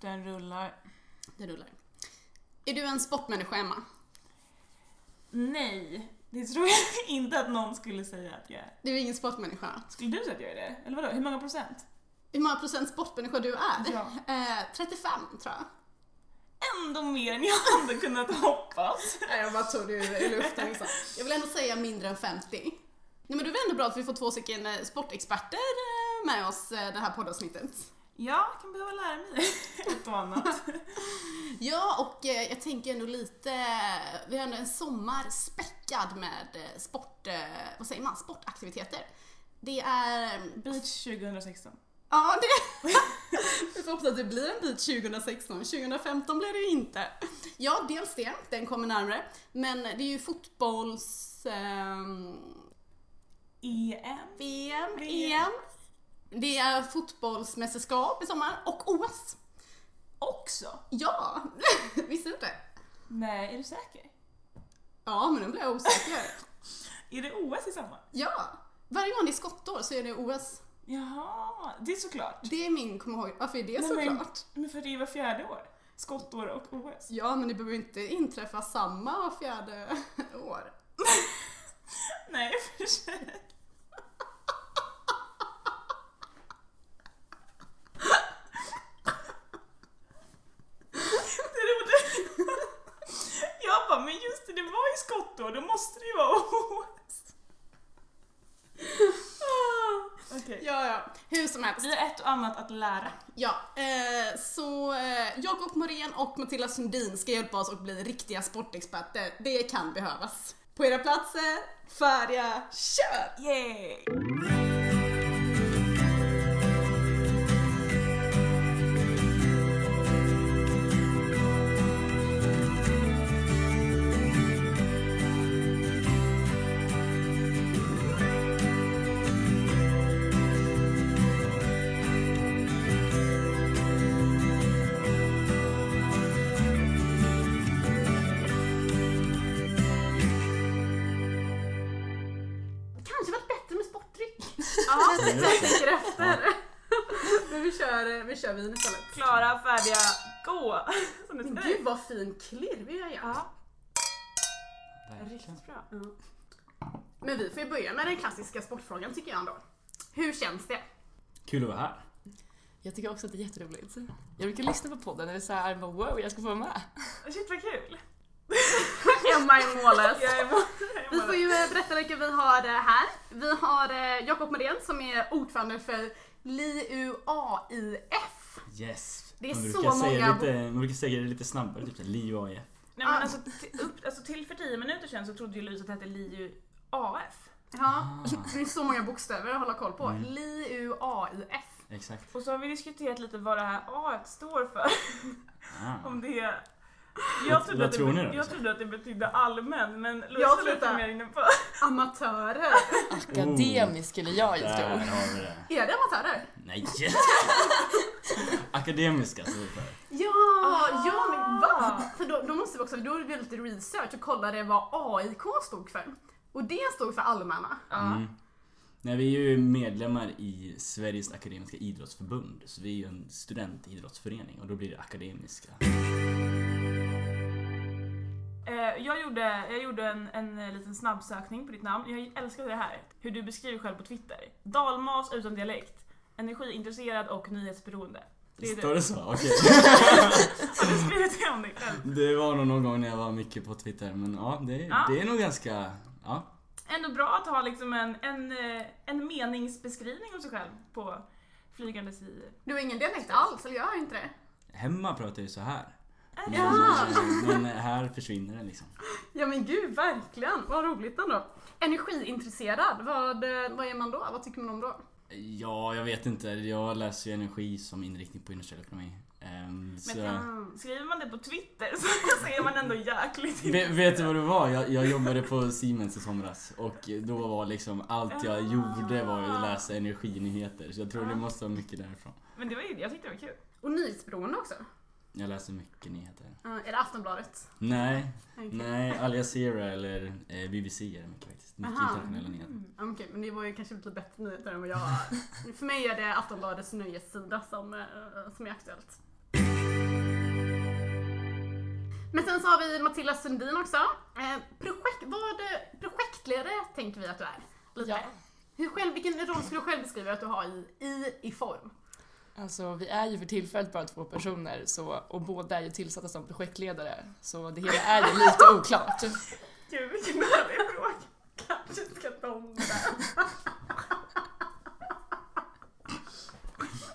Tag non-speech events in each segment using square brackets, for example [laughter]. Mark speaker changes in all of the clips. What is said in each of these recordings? Speaker 1: Den rullar.
Speaker 2: Det rullar. Är du en sportmänniska, Emma?
Speaker 1: Nej, det tror jag [laughs] inte att någon skulle säga att jag är.
Speaker 2: Du är ingen sportmänniska.
Speaker 1: Skulle du säga att jag är det? Eller vadå, hur många procent?
Speaker 2: Hur många procent sportmänniska du är?
Speaker 1: Ja.
Speaker 2: Eh, 35, tror jag.
Speaker 1: Ändå mer än jag [laughs] hade kunnat hoppas.
Speaker 2: Nej, jag bara tog det i luften. Liksom. Jag vill ändå säga mindre än 50. Nej, men det är väl ändå bra att vi får två stycken eh, sportexperter eh, med oss eh, det här poddavsnittet.
Speaker 1: Ja, jag kan behöva lära mig [laughs] ett och annat.
Speaker 2: Ja, och eh, jag tänker ändå lite, eh, vi har ändå en sommar späckad med eh, sport, eh, vad säger man, sportaktiviteter. Det är, eh,
Speaker 1: Beach 2016.
Speaker 2: ja det, [laughs] vi får hoppas att det blir en bit 2016, 2015 blir det ju inte. Ja, dels det, den kommer närmare, men det är ju fotbolls, ehm,
Speaker 1: EM.
Speaker 2: VM,
Speaker 1: VM.
Speaker 2: EM, det är fotbollsmästerskap i sommar och OS.
Speaker 1: Också?
Speaker 2: Ja, [laughs] visste du inte?
Speaker 1: Nej, är du säker?
Speaker 2: Ja, men nu blir jag osäker.
Speaker 1: Är det OS i sommar?
Speaker 2: Ja! Varje gång det är skottår så är det OS.
Speaker 1: Jaha, det är såklart.
Speaker 2: Det är min kom ihåg. Varför är det
Speaker 1: Nej, men-
Speaker 2: såklart?
Speaker 1: Men för det är var fjärde år. Skottår och OS.
Speaker 2: Ja, men det behöver inte inträffa samma var fjärde [laughs] år.
Speaker 1: Nej, för sig. Det är roligt. Jag bara, men just det, det var ju skottår, då måste det ju vara OS. Okej.
Speaker 2: Ja, ja. Hur som helst.
Speaker 1: Vi har ett och annat att lära.
Speaker 2: Ja, eh, så eh, Jakob Norén och Matilda Sundin ska hjälpa oss att bli riktiga sportexperter. Det kan behövas. På era platser, färdiga, kör!
Speaker 1: Yay!
Speaker 2: Kanske varit bättre med [laughs] sportdryck. ja, det jag tänker efter. [laughs] men vi kör, eh, vi kör vin istället. Mm.
Speaker 1: Klara, färdiga, gå! Som det säger.
Speaker 2: Gud vad fin klirr jag gör.
Speaker 1: Ja, riktigt bra.
Speaker 2: Men vi får ju börja med den klassiska sportfrågan tycker jag ändå. Hur känns det?
Speaker 3: Kul att vara här.
Speaker 4: Jag tycker också att det är jätteroligt. Jag brukar lyssna på podden och det är såhär, bara, wow, jag ska få vara med.
Speaker 1: Shit vad kul!
Speaker 2: Emma är [laughs] mållös.
Speaker 1: Jag är bara, jag
Speaker 2: Vi
Speaker 1: är
Speaker 2: får
Speaker 1: bara.
Speaker 2: ju eh, berätta vilka vi har eh, här. Vi har eh, Jakob Norén som är ordförande för LIUAIF.
Speaker 3: Yes.
Speaker 2: Det är
Speaker 3: man
Speaker 2: så
Speaker 3: brukar säga
Speaker 2: många-
Speaker 3: Lite, man brukar säga det lite snabbare, typ såhär Liv AIF.
Speaker 1: Nej,
Speaker 2: Ah.
Speaker 1: men alltså, t- upp, alltså till för 10 minuter sedan så trodde ju Louise att det hette LiU AF.
Speaker 2: Ja, det är så många bokstäver att hålla koll på. LIUAIF.
Speaker 3: Exakt.
Speaker 1: Och så har vi diskuterat lite vad det här A står för. [laughs]
Speaker 3: Ah.
Speaker 1: Om det är...
Speaker 3: Vad-
Speaker 1: Jag trodde,
Speaker 3: vad
Speaker 1: att det,
Speaker 3: tror ni
Speaker 1: bet-
Speaker 3: då? liksom?
Speaker 1: jag trodde att det betydde allmän men Louise
Speaker 2: Jag
Speaker 1: var lite
Speaker 2: trodde-
Speaker 1: mer inne på...
Speaker 2: Amatörer.
Speaker 4: Akademisk skulle jag ju
Speaker 3: Där
Speaker 4: tro.
Speaker 3: har vi det.
Speaker 2: Är det amatörer?
Speaker 3: Nej! Akademiska står det för.
Speaker 2: Ja,
Speaker 1: Ah.
Speaker 2: ja men va? För då, då måste vi också, då gjorde vi lite research och kollade vad AIK stod för. Och det stod för allmänna.
Speaker 1: [laughs] Ja.
Speaker 3: Mm. Nej, vi är ju medlemmar i Sveriges Akademiska Idrottsförbund. Så vi är ju en studentidrottsförening och då blir det akademiska.
Speaker 1: Eh, Jag gjorde, jag gjorde en, en eh, liten snabbsökning på ditt namn. Jag älskade det här. Hur du beskriver själv på Twitter. Dalmas utan dialekt. Energiintresserad och nyhetsberoende. Det är
Speaker 3: Står
Speaker 1: du.
Speaker 3: det så? Okej.
Speaker 1: Har du skrivit [laughs] det om dig själv?
Speaker 3: Det var nog någon gång när jag var mycket på Twitter men ja, det,
Speaker 1: Ja.
Speaker 3: det är nog ganska... Ja.
Speaker 1: ändå bra att ha liksom en, en, eh, en meningsbeskrivning av sig själv på flygandes i...
Speaker 2: Du har ingen dialekt alls, eller jag har inte det.
Speaker 3: Hemma pratar jag ju så här.
Speaker 1: Äh,
Speaker 3: Men,
Speaker 2: Ja.
Speaker 3: men här försvinner den liksom.
Speaker 2: Ja men gud, verkligen. Vad roligt ändå. Energiintresserad, vad, eh, vad är man då? Vad tycker man om då?
Speaker 3: Ja, jag vet inte. Jag läser ju energi som inriktning på industriell ekonomi. Ehm, så...
Speaker 1: Men skriver man det på Twitter så [laughs] ser man ändå jäkligt
Speaker 3: Ve- [laughs] Vet du vad det var? Jag, jag jobbade på Siemens i somras och då var liksom allt jag gjorde var att läsa energinyheter. Så jag tror det måste vara mycket därifrån.
Speaker 1: Men det var ju, jag tyckte det var kul.
Speaker 2: Och nyhetsberoende också.
Speaker 3: Jag läser mycket nyheter.
Speaker 2: Ja, är det Aftonbladet?
Speaker 3: Nej,
Speaker 2: Okej,
Speaker 3: nej, Al Jazeera eller eh, BBC är det mycket faktiskt. Mycket
Speaker 2: Aha.
Speaker 3: internationella
Speaker 1: Mm.
Speaker 3: nyheter.
Speaker 2: Ja, men okej, men det var ju kanske lite bättre nyheter än vad [laughs] jag För mig är det Aftonbladets nöjessida som, eh, som är aktuellt. Men sen så har vi Matilda Sundin också. Eh, projekt, vad, eh, projektledare tänker vi att du är. Lite.
Speaker 4: Ja.
Speaker 2: Hur själv, vilken roll skulle du själv beskriva att du har i, i, i form?
Speaker 4: Alltså vi är ju för tillfället bara två personer så, och båda är ju tillsatta som projektledare så det hela är ju lite oklart.
Speaker 1: Gud vilken dålig fråga. Kanske ska de där. [laughs]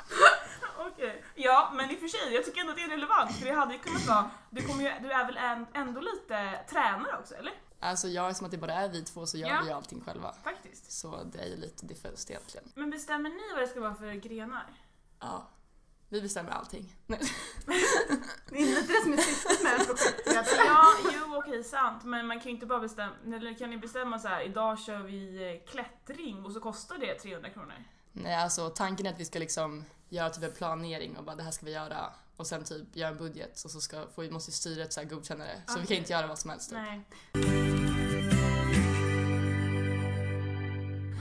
Speaker 1: Okej. Ja, men i och för sig, jag tycker ändå att det är relevant för det hade ju kunnat vara, du, kommer ju, du är väl en- ändå lite tränare också eller?
Speaker 4: Alltså jag, som att det bara är vi två så gör
Speaker 1: Ja.
Speaker 4: vi ju allting själva.
Speaker 1: Faktiskt.
Speaker 4: Så det är ju lite diffust egentligen.
Speaker 1: Men bestämmer ni vad det ska vara för grenar?
Speaker 4: Ja. Vi bestämmer allting. [laughs] Nej.
Speaker 2: Det är lite det som är syftet med en projektledare.
Speaker 1: Ja, jo okej sant, men man kan ju inte bara bestämma, eller kan ni bestämma så här, idag kör vi eh, klättring och så kostar det 300 kronor?
Speaker 4: Nej, alltså tanken är att vi ska liksom göra typ en planering och bara det här ska vi göra och sen typ göra en budget och så ska, får, vi måste ju styret så här godkänna det. Så vi kan
Speaker 1: Okej.
Speaker 4: inte göra vad som helst. Typ.
Speaker 1: Nej.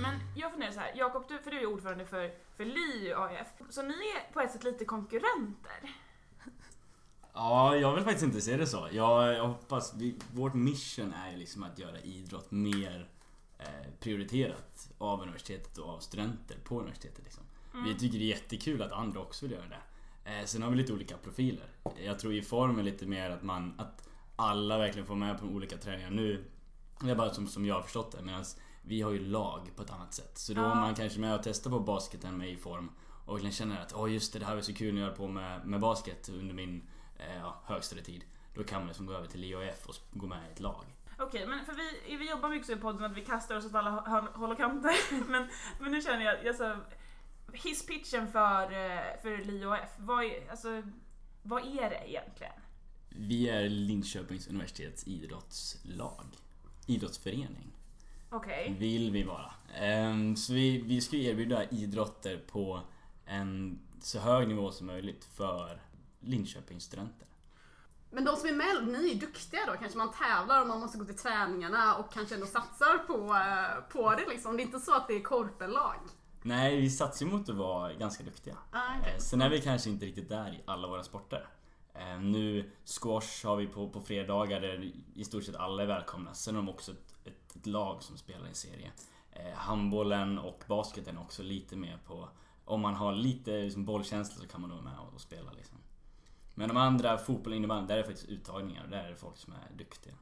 Speaker 1: Men jag funderar så här, Jakob, du, för du är ordförande för, för LI AF, så ni är på ett sätt lite konkurrenter.
Speaker 3: Ja, jag vill faktiskt inte se det så. Jag, jag hoppas... Vi, vårt mission är ju liksom att göra idrott mer eh, prioriterat av universitetet och av studenter på universitetet. Liksom. Vi tycker det är jättekul att andra också vill göra det. Eh, sen har vi lite olika profiler. Jag tror i form är lite mer att man... Att alla verkligen får med på de olika träningarna nu. Det är bara som, som jag har förstått det. Medan vi har ju lag på ett annat sätt. Så då
Speaker 1: Ja.
Speaker 3: är man kanske med och testar på basketen med i form. Och verkligen känner att åh just det, det här var så kul när jag höll på med, med basket under min eh, ja, högstadietid. Då kan man liksom gå över till IOF och s- gå med i ett lag.
Speaker 1: Okej, men för vi, vi jobbar mycket så i podden att vi kastar oss åt alla hörn- håll och kanter. [laughs] Men, men nu känner jag, alltså, hisspitchen för, eh, för LI AF, vad är, alltså, vad är det egentligen?
Speaker 3: Vi är Linköpings universitets idrottslag. Idrottsförening.
Speaker 1: Okej.
Speaker 3: Vill vi vara. Ehm, Så vi, vi ska erbjuda idrotter på en så hög nivå som möjligt för Linköpings studenter.
Speaker 2: Men de som är med, ni är ju duktiga då. Kanske man tävlar och man måste gå till träningarna och kanske ändå satsar på, eh, på det liksom. Det är inte så att det är korpenlag.
Speaker 3: Nej, vi satsar ju mot att vara ganska duktiga.
Speaker 2: Ah,
Speaker 3: Eh, Sen är vi kanske inte riktigt där i alla våra sporter. Eh, Nu squash har vi på, på fredagar där i stort sett alla är välkomna. Sen har de också ett, ett, ett lag som spelar i serie. Eh, Handbollen och basketen är också lite mer på... Om man har lite liksom, bollkänsla så kan man då vara med och, och spela liksom. Men de andra, fotboll och innebandy, där är det faktiskt uttagningar och där är det folk som är duktiga.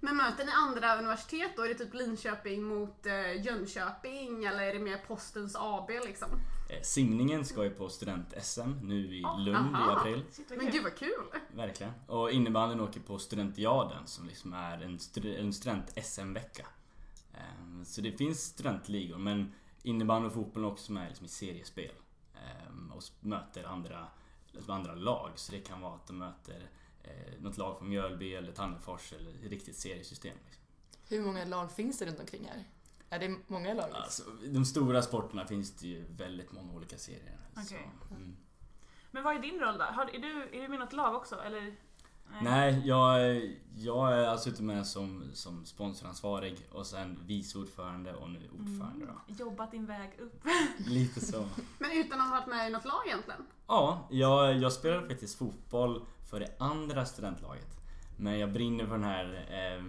Speaker 2: Men möter ni andra universitet då? Är det typ Linköping mot eh, Jönköping eller är det mer Postens AB liksom?
Speaker 3: Eh, Simningen ska ju på student-SM nu i
Speaker 1: Ah,
Speaker 3: Lund i
Speaker 2: aha.
Speaker 3: april.
Speaker 1: Shit, vad
Speaker 2: Men
Speaker 1: kul.
Speaker 2: gud vad kul!
Speaker 3: Verkligen. Och innebandyn åker på studentiaden som liksom är en, stud- en student-SM-vecka. Ehm, Så det finns studentligor men innebandy och fotboll är också med liksom i seriespel. Ehm, Och s- möter andra, liksom andra lag. Så det kan vara att de möter eh, något lag från Mjölby eller Tandefors eller ett riktigt seriesystem. Liksom.
Speaker 4: Hur många lag finns det runt omkring här? Är det många lag?
Speaker 3: Alltså, de stora sporterna finns det ju väldigt många olika serier. Så,
Speaker 1: Okej.
Speaker 3: mm.
Speaker 1: Men vad är din roll då? Har, är, du, är du med i något lag också? Eller?
Speaker 3: Nej, jag, jag är alltså ute med som, som sponsoransvarig och sen vice ordförande och nu ordförande då.
Speaker 1: Mm. Jobbat din väg upp.
Speaker 3: Lite
Speaker 1: [laughs]
Speaker 3: så.
Speaker 2: Men utan att ha varit med i något lag egentligen?
Speaker 3: Ja, jag, jag spelade faktiskt fotboll för det andra studentlaget. Men jag brinner för den här, eh,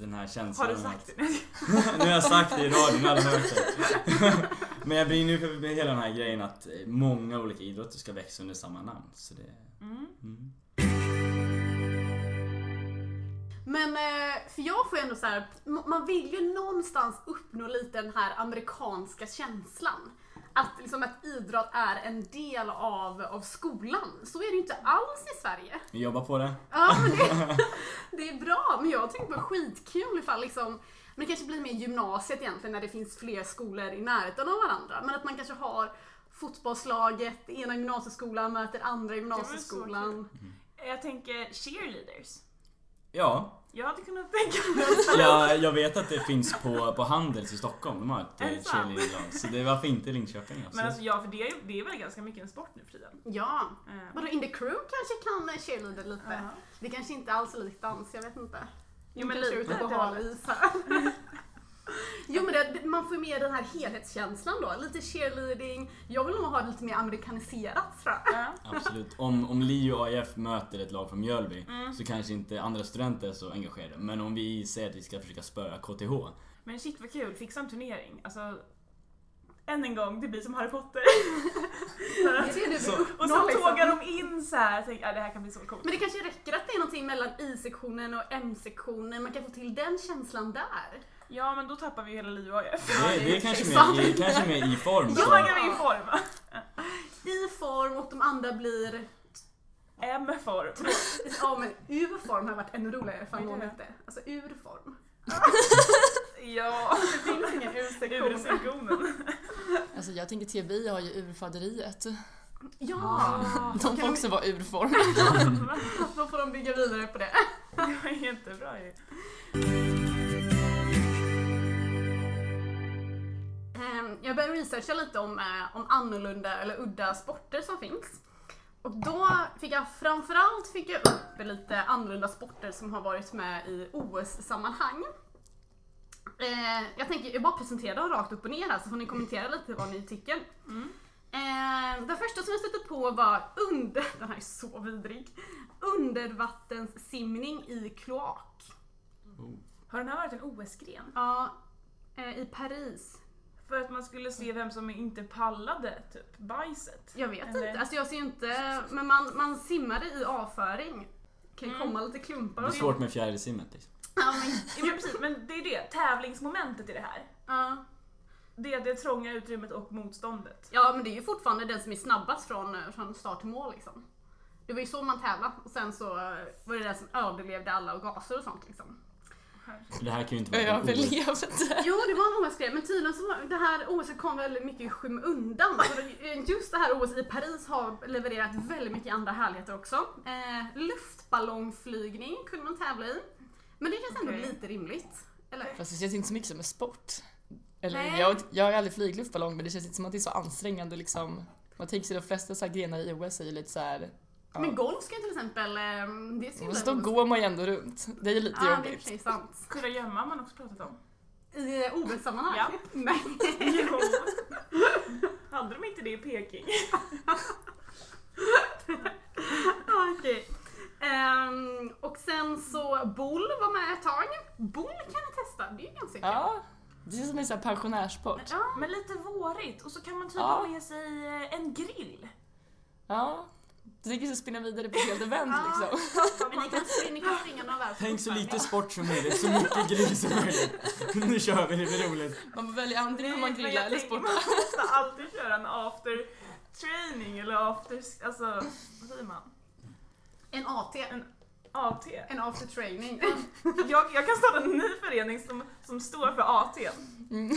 Speaker 3: den här känslan.
Speaker 1: Har du
Speaker 3: av
Speaker 1: sagt
Speaker 3: att-
Speaker 1: det [laughs] nu?
Speaker 3: [laughs] nu har jag sagt det i radion, alla har hört det.
Speaker 1: [laughs]
Speaker 3: Men jag brinner ju för hela den här grejen att eh, många olika idrotter ska växa under samma namn. Så det,
Speaker 1: Mm.
Speaker 3: mm.
Speaker 2: Men eh, för jag får ju ändå så här, m- man vill ju någonstans uppnå lite den här amerikanska känslan. Att, liksom, att idrott är en del av, av skolan. Så är det ju inte alls i Sverige.
Speaker 3: Vi jobbar på det.
Speaker 2: Ja, men det, [laughs] det är bra, men jag tycker det är skitkul ifall liksom men det kanske blir mer gymnasiet egentligen när det finns fler skolor i närheten av varandra. Men att man kanske har fotbollslaget, ena gymnasieskolan möter andra gymnasieskolan.
Speaker 1: Jag tänker cheerleaders.
Speaker 3: Ja,
Speaker 1: Jag hade kunnat [laughs] tänka mig att
Speaker 3: jag, jag vet att det finns på, på Handels i Stockholm, de har ett
Speaker 1: Är det
Speaker 3: eh,
Speaker 1: sant?
Speaker 3: cheerleadinglag. Så det, varför inte Linköping?
Speaker 1: Men
Speaker 3: absolut.
Speaker 1: alltså ja, för det är, det är väl ganska mycket en sport nu för tiden.
Speaker 2: Ja,
Speaker 1: Eh,
Speaker 2: vadå in the crew kanske kan eh, cheerleader lite.
Speaker 1: ja.
Speaker 2: Det kanske inte alls är likt dans, jag vet inte.
Speaker 1: Jo, men
Speaker 2: Kanske
Speaker 1: lite
Speaker 2: ute på
Speaker 1: åt det
Speaker 2: hal is här. [laughs] Jo men det, man får ju med den här helhetskänslan då. Lite cheerleading. Jag vill nog ha det lite mer amerikaniserat tror jag.
Speaker 1: Ja.
Speaker 3: Absolut. Om, om Li och AIF möter ett lag från Mjölby
Speaker 1: Mm.
Speaker 3: så kanske inte andra studenter är så engagerade. Men om vi säger att vi ska försöka spöa KTH.
Speaker 1: Men shit vad kul, fixa en turnering. Alltså, än en gång, det blir som Harry
Speaker 2: [laughs]
Speaker 1: Potter. [laughs]
Speaker 2: Det är det vi
Speaker 3: Så-
Speaker 2: uppnår,
Speaker 1: Och så
Speaker 2: liksom.
Speaker 1: tågar de in så här. Tänk, ja, det här kan bli så coolt.
Speaker 2: Men det kanske räcker att det är någonting mellan I-sektionen och M-sektionen. Man kan få till den känslan där.
Speaker 1: Ja, men då tappar vi ju hela Liv och AIF.
Speaker 3: Det,
Speaker 2: det
Speaker 3: det
Speaker 2: är
Speaker 3: är kanske
Speaker 2: sant.
Speaker 3: mer, i- kanske mer i form.
Speaker 1: Då
Speaker 3: så-
Speaker 1: kan vi i form.
Speaker 2: I form och de andra blir...
Speaker 1: M-form.
Speaker 2: Ja men U-form har varit ännu roligare för någon hette. Alltså ur-form.
Speaker 1: [laughs] Ja,
Speaker 2: Det finns
Speaker 1: [laughs]
Speaker 2: ingen U-sektion.
Speaker 1: ursektionen.
Speaker 4: Alltså jag tänker TBI har ju urfaderiet.
Speaker 2: Ja!
Speaker 4: De får
Speaker 2: Kan
Speaker 4: också vara urform.
Speaker 2: Då får de bygga vidare på det.
Speaker 1: [laughs] Det var jättebra ju.
Speaker 2: Ehm, Jag började researcha lite om, eh, om annorlunda eller udda sporter som finns. Och då fick jag framförallt fick jag upp lite annorlunda sporter som har varit med i OS-sammanhang. Eh, Jag tänker jag bara presentera dem rakt upp och ner här så får ni kommentera lite vad ni tycker. Eh, Den första som jag stötte på var under, [laughs] den här är så vidrig, undervattenssimning i kloak.
Speaker 1: Har den här varit en OS-gren?
Speaker 2: Ja, eh, i Paris
Speaker 1: För att man skulle se vem som inte pallade, typ bajset.
Speaker 2: Jag vet
Speaker 1: Eller-
Speaker 2: inte, alltså jag ser ju inte, men man, man simmade i avföring. Kan
Speaker 1: Mm.
Speaker 2: ju komma lite klumpar
Speaker 3: Det är
Speaker 2: och
Speaker 3: svårt med fjärilsimmet. Liksom.
Speaker 2: Ja, men,
Speaker 1: [laughs] Ja, men precis, men det är det, tävlingsmomentet i det här.
Speaker 2: ja.
Speaker 1: Det är det trånga utrymmet och motståndet.
Speaker 2: ja men det är ju fortfarande den som är snabbast från, från start till mål liksom. Det var ju så man tävlade och sen så eh, var det den som överlevde alla och gaser och sånt liksom.
Speaker 3: För det här kan ju inte vara en OS.
Speaker 4: Överlevde.
Speaker 2: Jo det var en OS-grej men tydligen så var det här OS kom väldigt mycket i skymundan. För det- Just det här OS i Paris har levererat väldigt mycket andra härligheter också. Eh, luftballongflygning kunde man tävla i. Men det känns ändå
Speaker 1: Okej.
Speaker 2: lite rimligt. Eller?
Speaker 4: Fast det känns inte så mycket som en sport. Eller,
Speaker 2: Nej.
Speaker 4: jag, jag har ju aldrig flygluftballong men det känns inte som att det är så ansträngande liksom. Man tänker sig de flesta så här grenar i OS är ju lite så här. Ja.
Speaker 2: Men golf ska ju till exempel, ehm, det ska ju
Speaker 4: Fast
Speaker 2: bli-
Speaker 4: då går man ju ändå runt. Det är ju lite
Speaker 2: Ja, det är i och för
Speaker 4: jobbigt.
Speaker 2: sig sant.
Speaker 1: Kurra gömma har man också pratat om.
Speaker 2: I eh, OS-sammanhang?
Speaker 1: Ja.
Speaker 2: [laughs] Nej.
Speaker 1: [laughs] Jo. [laughs] Hade de inte det i Peking?
Speaker 2: [laughs] Ja, Okej. Ehm, och sen så boll var med ett tag. Boll kan ni testa, det är ju ganska kul.
Speaker 4: Ja, det känns som en sån här pensionärssport.
Speaker 2: Ja.
Speaker 1: Men lite vårigt och så kan man tydligen
Speaker 4: Ja.
Speaker 1: ha med sig eh, en grill.
Speaker 4: Ja. Du tänker så spinna vidare på ett helt event
Speaker 2: Ja.
Speaker 4: liksom.
Speaker 2: Men ni kan, ni kan springa några varv.
Speaker 3: Tänk så lite
Speaker 2: fortfarande.
Speaker 3: sport som möjligt, så mycket gris som möjligt. Nu kör vi, det blir roligt.
Speaker 4: Man får välja antingen om man
Speaker 1: Men jag
Speaker 4: grillar eller
Speaker 1: tänker,
Speaker 2: [laughs]
Speaker 4: sportar.
Speaker 1: Man måste alltid köra en after training eller after... Alltså, vad säger man?
Speaker 2: En AT.
Speaker 1: AT.
Speaker 2: En after training.
Speaker 1: Jag, jag kan starta en ny förening som, som står för AT.
Speaker 4: Mm.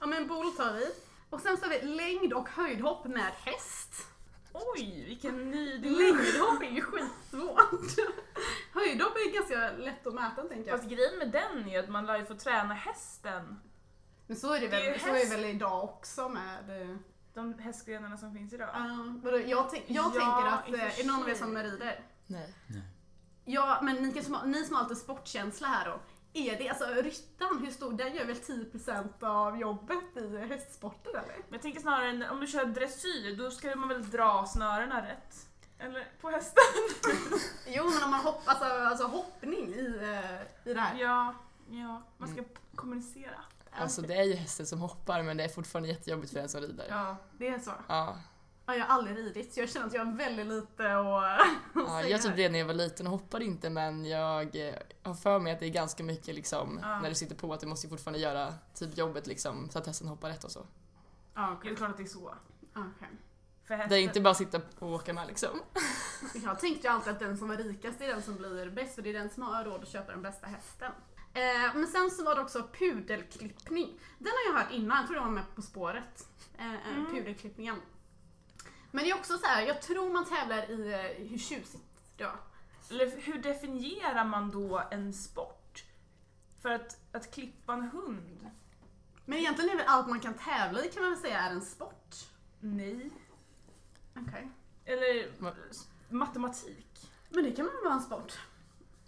Speaker 2: ja men boll tar vi. Och sen så har vi längd och höjdhopp med häst.
Speaker 1: Oj, vilken ny dimension.
Speaker 2: Längdhopp är ju skitsvårt. [laughs] höjdhopp är ganska lätt att mäta tänker jag.
Speaker 1: Fast grejen med den är ju att man lär ju få träna hästen.
Speaker 2: Men så är det,
Speaker 1: Det är
Speaker 2: väl,
Speaker 1: ju
Speaker 2: så är det
Speaker 1: häst.
Speaker 2: väl idag också med... eh,
Speaker 1: De hästgrenarna som finns idag.
Speaker 2: ja, vadå, jag tänk- jag
Speaker 1: Ja,
Speaker 2: tänker att,
Speaker 1: i och för
Speaker 2: eh, är det någon av er
Speaker 1: sig.
Speaker 2: som rider?
Speaker 4: Nej.
Speaker 2: Ja, men ni, kan, som har- ni som har lite sportkänsla här då. Är det, alltså ryttaren, hur stor, den gör väl 10% av jobbet i hästsporten eller?
Speaker 1: Men jag tänker snarare en- om du kör dressyr, då ska man väl dra snörena rätt? Eller på hästen?
Speaker 2: Jo, men om man hoppar, alltså, alltså hoppning i, eh, i det här.
Speaker 1: Ja, ja man ska p- kommunicera.
Speaker 4: Alltså det är ju hästen som hoppar men det är fortfarande jättejobbigt för den som rider.
Speaker 2: Ja, det är så.
Speaker 4: Ja.
Speaker 2: Ja, jag har aldrig ridit så jag känner att jag har väldigt lite och, [laughs]
Speaker 4: Ja, jag typ det när jag var liten och hoppade inte men jag eh, har för mig att det är ganska mycket liksom
Speaker 1: Ja.
Speaker 4: när du sitter på att du måste ju fortfarande göra typ jobbet liksom så att hästen hoppar rätt och så.
Speaker 2: Ja,
Speaker 1: Det
Speaker 2: okej.
Speaker 1: är klart att det är så.
Speaker 2: Ah, Okej.
Speaker 1: För hästen.
Speaker 4: Det är inte bara sitta och åka med liksom.
Speaker 2: Jag tänkte ju alltid att den som var rikast är den som blir bäst och det är den som har råd att köpa den bästa hästen. Eh, men sen så var det också pudelklippning. Den har jag hört innan, jag tror jag var med På spåret. Eh, eh,
Speaker 1: Mm.
Speaker 2: Pudelklippningen. Men det är också så här, jag tror man tävlar i eh, hur tjusigt det var.
Speaker 1: Eller hur definierar man då en sport? För att, att klippa en hund?
Speaker 2: Men egentligen är väl allt man kan tävla i kan man väl säga är en sport.
Speaker 1: Nej.
Speaker 2: Okej.
Speaker 1: Eller
Speaker 4: Ma-
Speaker 1: s- matematik?
Speaker 2: Men det kan väl vara en sport?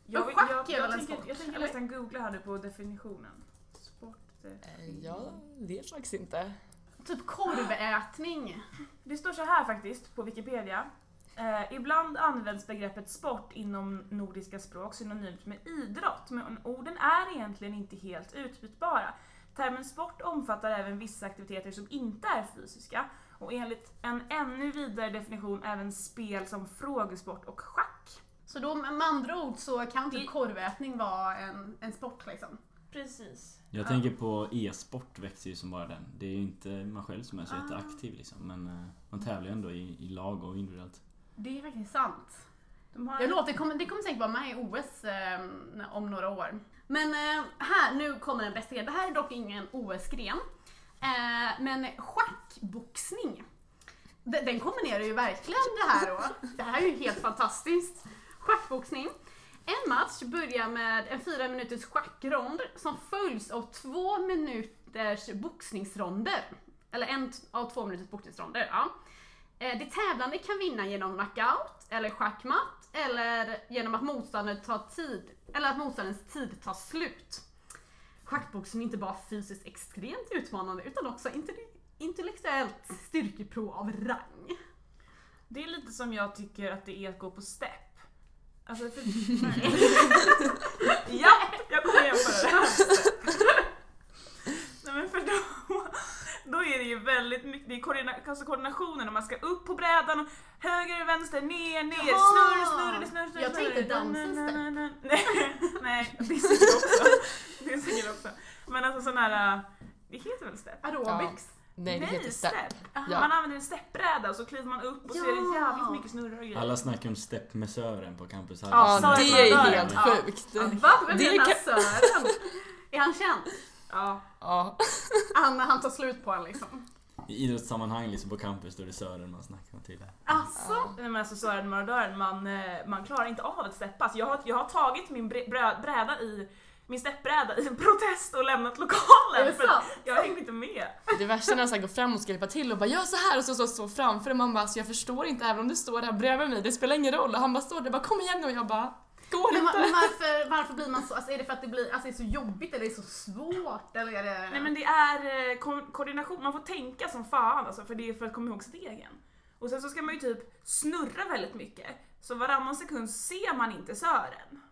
Speaker 1: Jag,
Speaker 2: Men
Speaker 1: vill-
Speaker 2: schack
Speaker 1: jag,
Speaker 2: är väl
Speaker 1: jag,
Speaker 2: en
Speaker 1: tänker,
Speaker 2: sport,
Speaker 1: jag tänker
Speaker 2: eller?
Speaker 1: nästan googla här nu på definitionen. heter?
Speaker 4: Eh, Jag vet faktiskt inte.
Speaker 2: Typ korvätning.
Speaker 1: Det står så här faktiskt på Wikipedia. Eh, ibland används begreppet sport inom nordiska språk synonymt med idrott, men orden är egentligen inte helt utbytbara. Termen sport omfattar även vissa aktiviteter som inte är fysiska och enligt en ännu vidare definition även spel som frågesport och schack.
Speaker 2: Så då med andra ord så kan
Speaker 1: I-
Speaker 2: typ korvätning vara en, en sport liksom.
Speaker 1: Precis.
Speaker 3: Jag tänker på e-sport växer ju som bara den. Det är ju inte man själv som är så
Speaker 1: Ah.
Speaker 3: jätteaktiv liksom. Men eh, man tävlar ju ändå i, i lag och individuellt.
Speaker 2: Det är faktiskt sant.
Speaker 1: De har
Speaker 2: Jag låter, det, kommer, det kommer säkert vara med i OS eh, om några år. Men eh, här, nu kommer den bästa grejen. Det här är dock ingen OS-gren. Eh, men schackboxning. Den, den kombinerar ju verkligen det här då. Det här är ju helt fantastiskt. Schackboxning. En match börjar med en fyra minuters schackrond som följs av två minuters boxningsronder. Eller en t- av två minuters boxningsronder, ja. Eh, Det tävlande kan vinna genom knockout eller schackmatt eller genom att motståndaren tar tid, eller att motståndarens tid tar slut. Schackboxning är inte bara fysiskt extremt utmanande utan också inte- intellektuellt styrkeprov av rang.
Speaker 1: Det är lite som jag tycker att det är att gå på step. Alltså,
Speaker 2: [laughs]
Speaker 1: för... [laughs] ja, jag kommer jämföra det här med step. Nej men för då, då är det ju väldigt mycket, det är koordina- alltså koordinationen och man ska upp på brädan och höger, vänster, ner, ner,
Speaker 2: Jaha!
Speaker 1: snurr, snurr, snurr, snurr.
Speaker 2: Jag tänkte
Speaker 1: snurr.
Speaker 2: dansen
Speaker 1: Na, na,
Speaker 2: step.
Speaker 1: na, na. Nej, [laughs] nej, det är säkert också. Det är säkert också. Men alltså sån här, äh, det heter väl step?
Speaker 2: Aerobics.
Speaker 4: Nej, det heter step. Ja.
Speaker 1: Man använder en steppbräda och så kliver man upp och så är det
Speaker 2: Ja.
Speaker 1: jävligt mycket snurrar och grejer.
Speaker 3: Alla snackar om steppmessören på campus här.
Speaker 1: Ja,
Speaker 4: Ja,
Speaker 1: sa jag
Speaker 4: det
Speaker 1: från
Speaker 4: är
Speaker 1: början.
Speaker 4: helt
Speaker 2: Ja.
Speaker 4: sjukt.
Speaker 2: Va? Vem
Speaker 4: Det
Speaker 2: är den här
Speaker 4: kan-
Speaker 2: Sören? Är han känd?
Speaker 1: Ja.
Speaker 4: Ja.
Speaker 2: Han, han tar slut på en liksom.
Speaker 3: I idrottssammanhang liksom på campus då är det sören man snackar om till.
Speaker 2: Alltså,
Speaker 1: Nej, men alltså Sören Maradören, man, eh, man klarar inte av att steppa. Alltså, jag, har, jag har tagit min bre- brä- bräda i min steppbräda i en protest och lämnat
Speaker 2: [laughs] är
Speaker 1: lokalen
Speaker 2: det
Speaker 1: för att
Speaker 2: sant?
Speaker 1: jag hängde inte med.
Speaker 4: Det värsta är när han så här går fram och ska hjälpa till och bara gör så här och så står så, framför och man bara så jag förstår inte även om du står där bredvid mig, det spelar ingen roll och han bara står där och bara kom igen nu och jag bara går
Speaker 2: Men, va-
Speaker 4: inte.
Speaker 2: men varför, varför blir man så? Alltså, är det för att det, blir, alltså, det är så jobbigt eller är det så svårt? Eller är det...
Speaker 1: Nej men det är eh, ko- koordination, man får tänka som fan alltså, för det är för att komma ihåg stegen. Och sen så ska man ju typ snurra väldigt mycket. Så varannan sekund ser man inte Sören.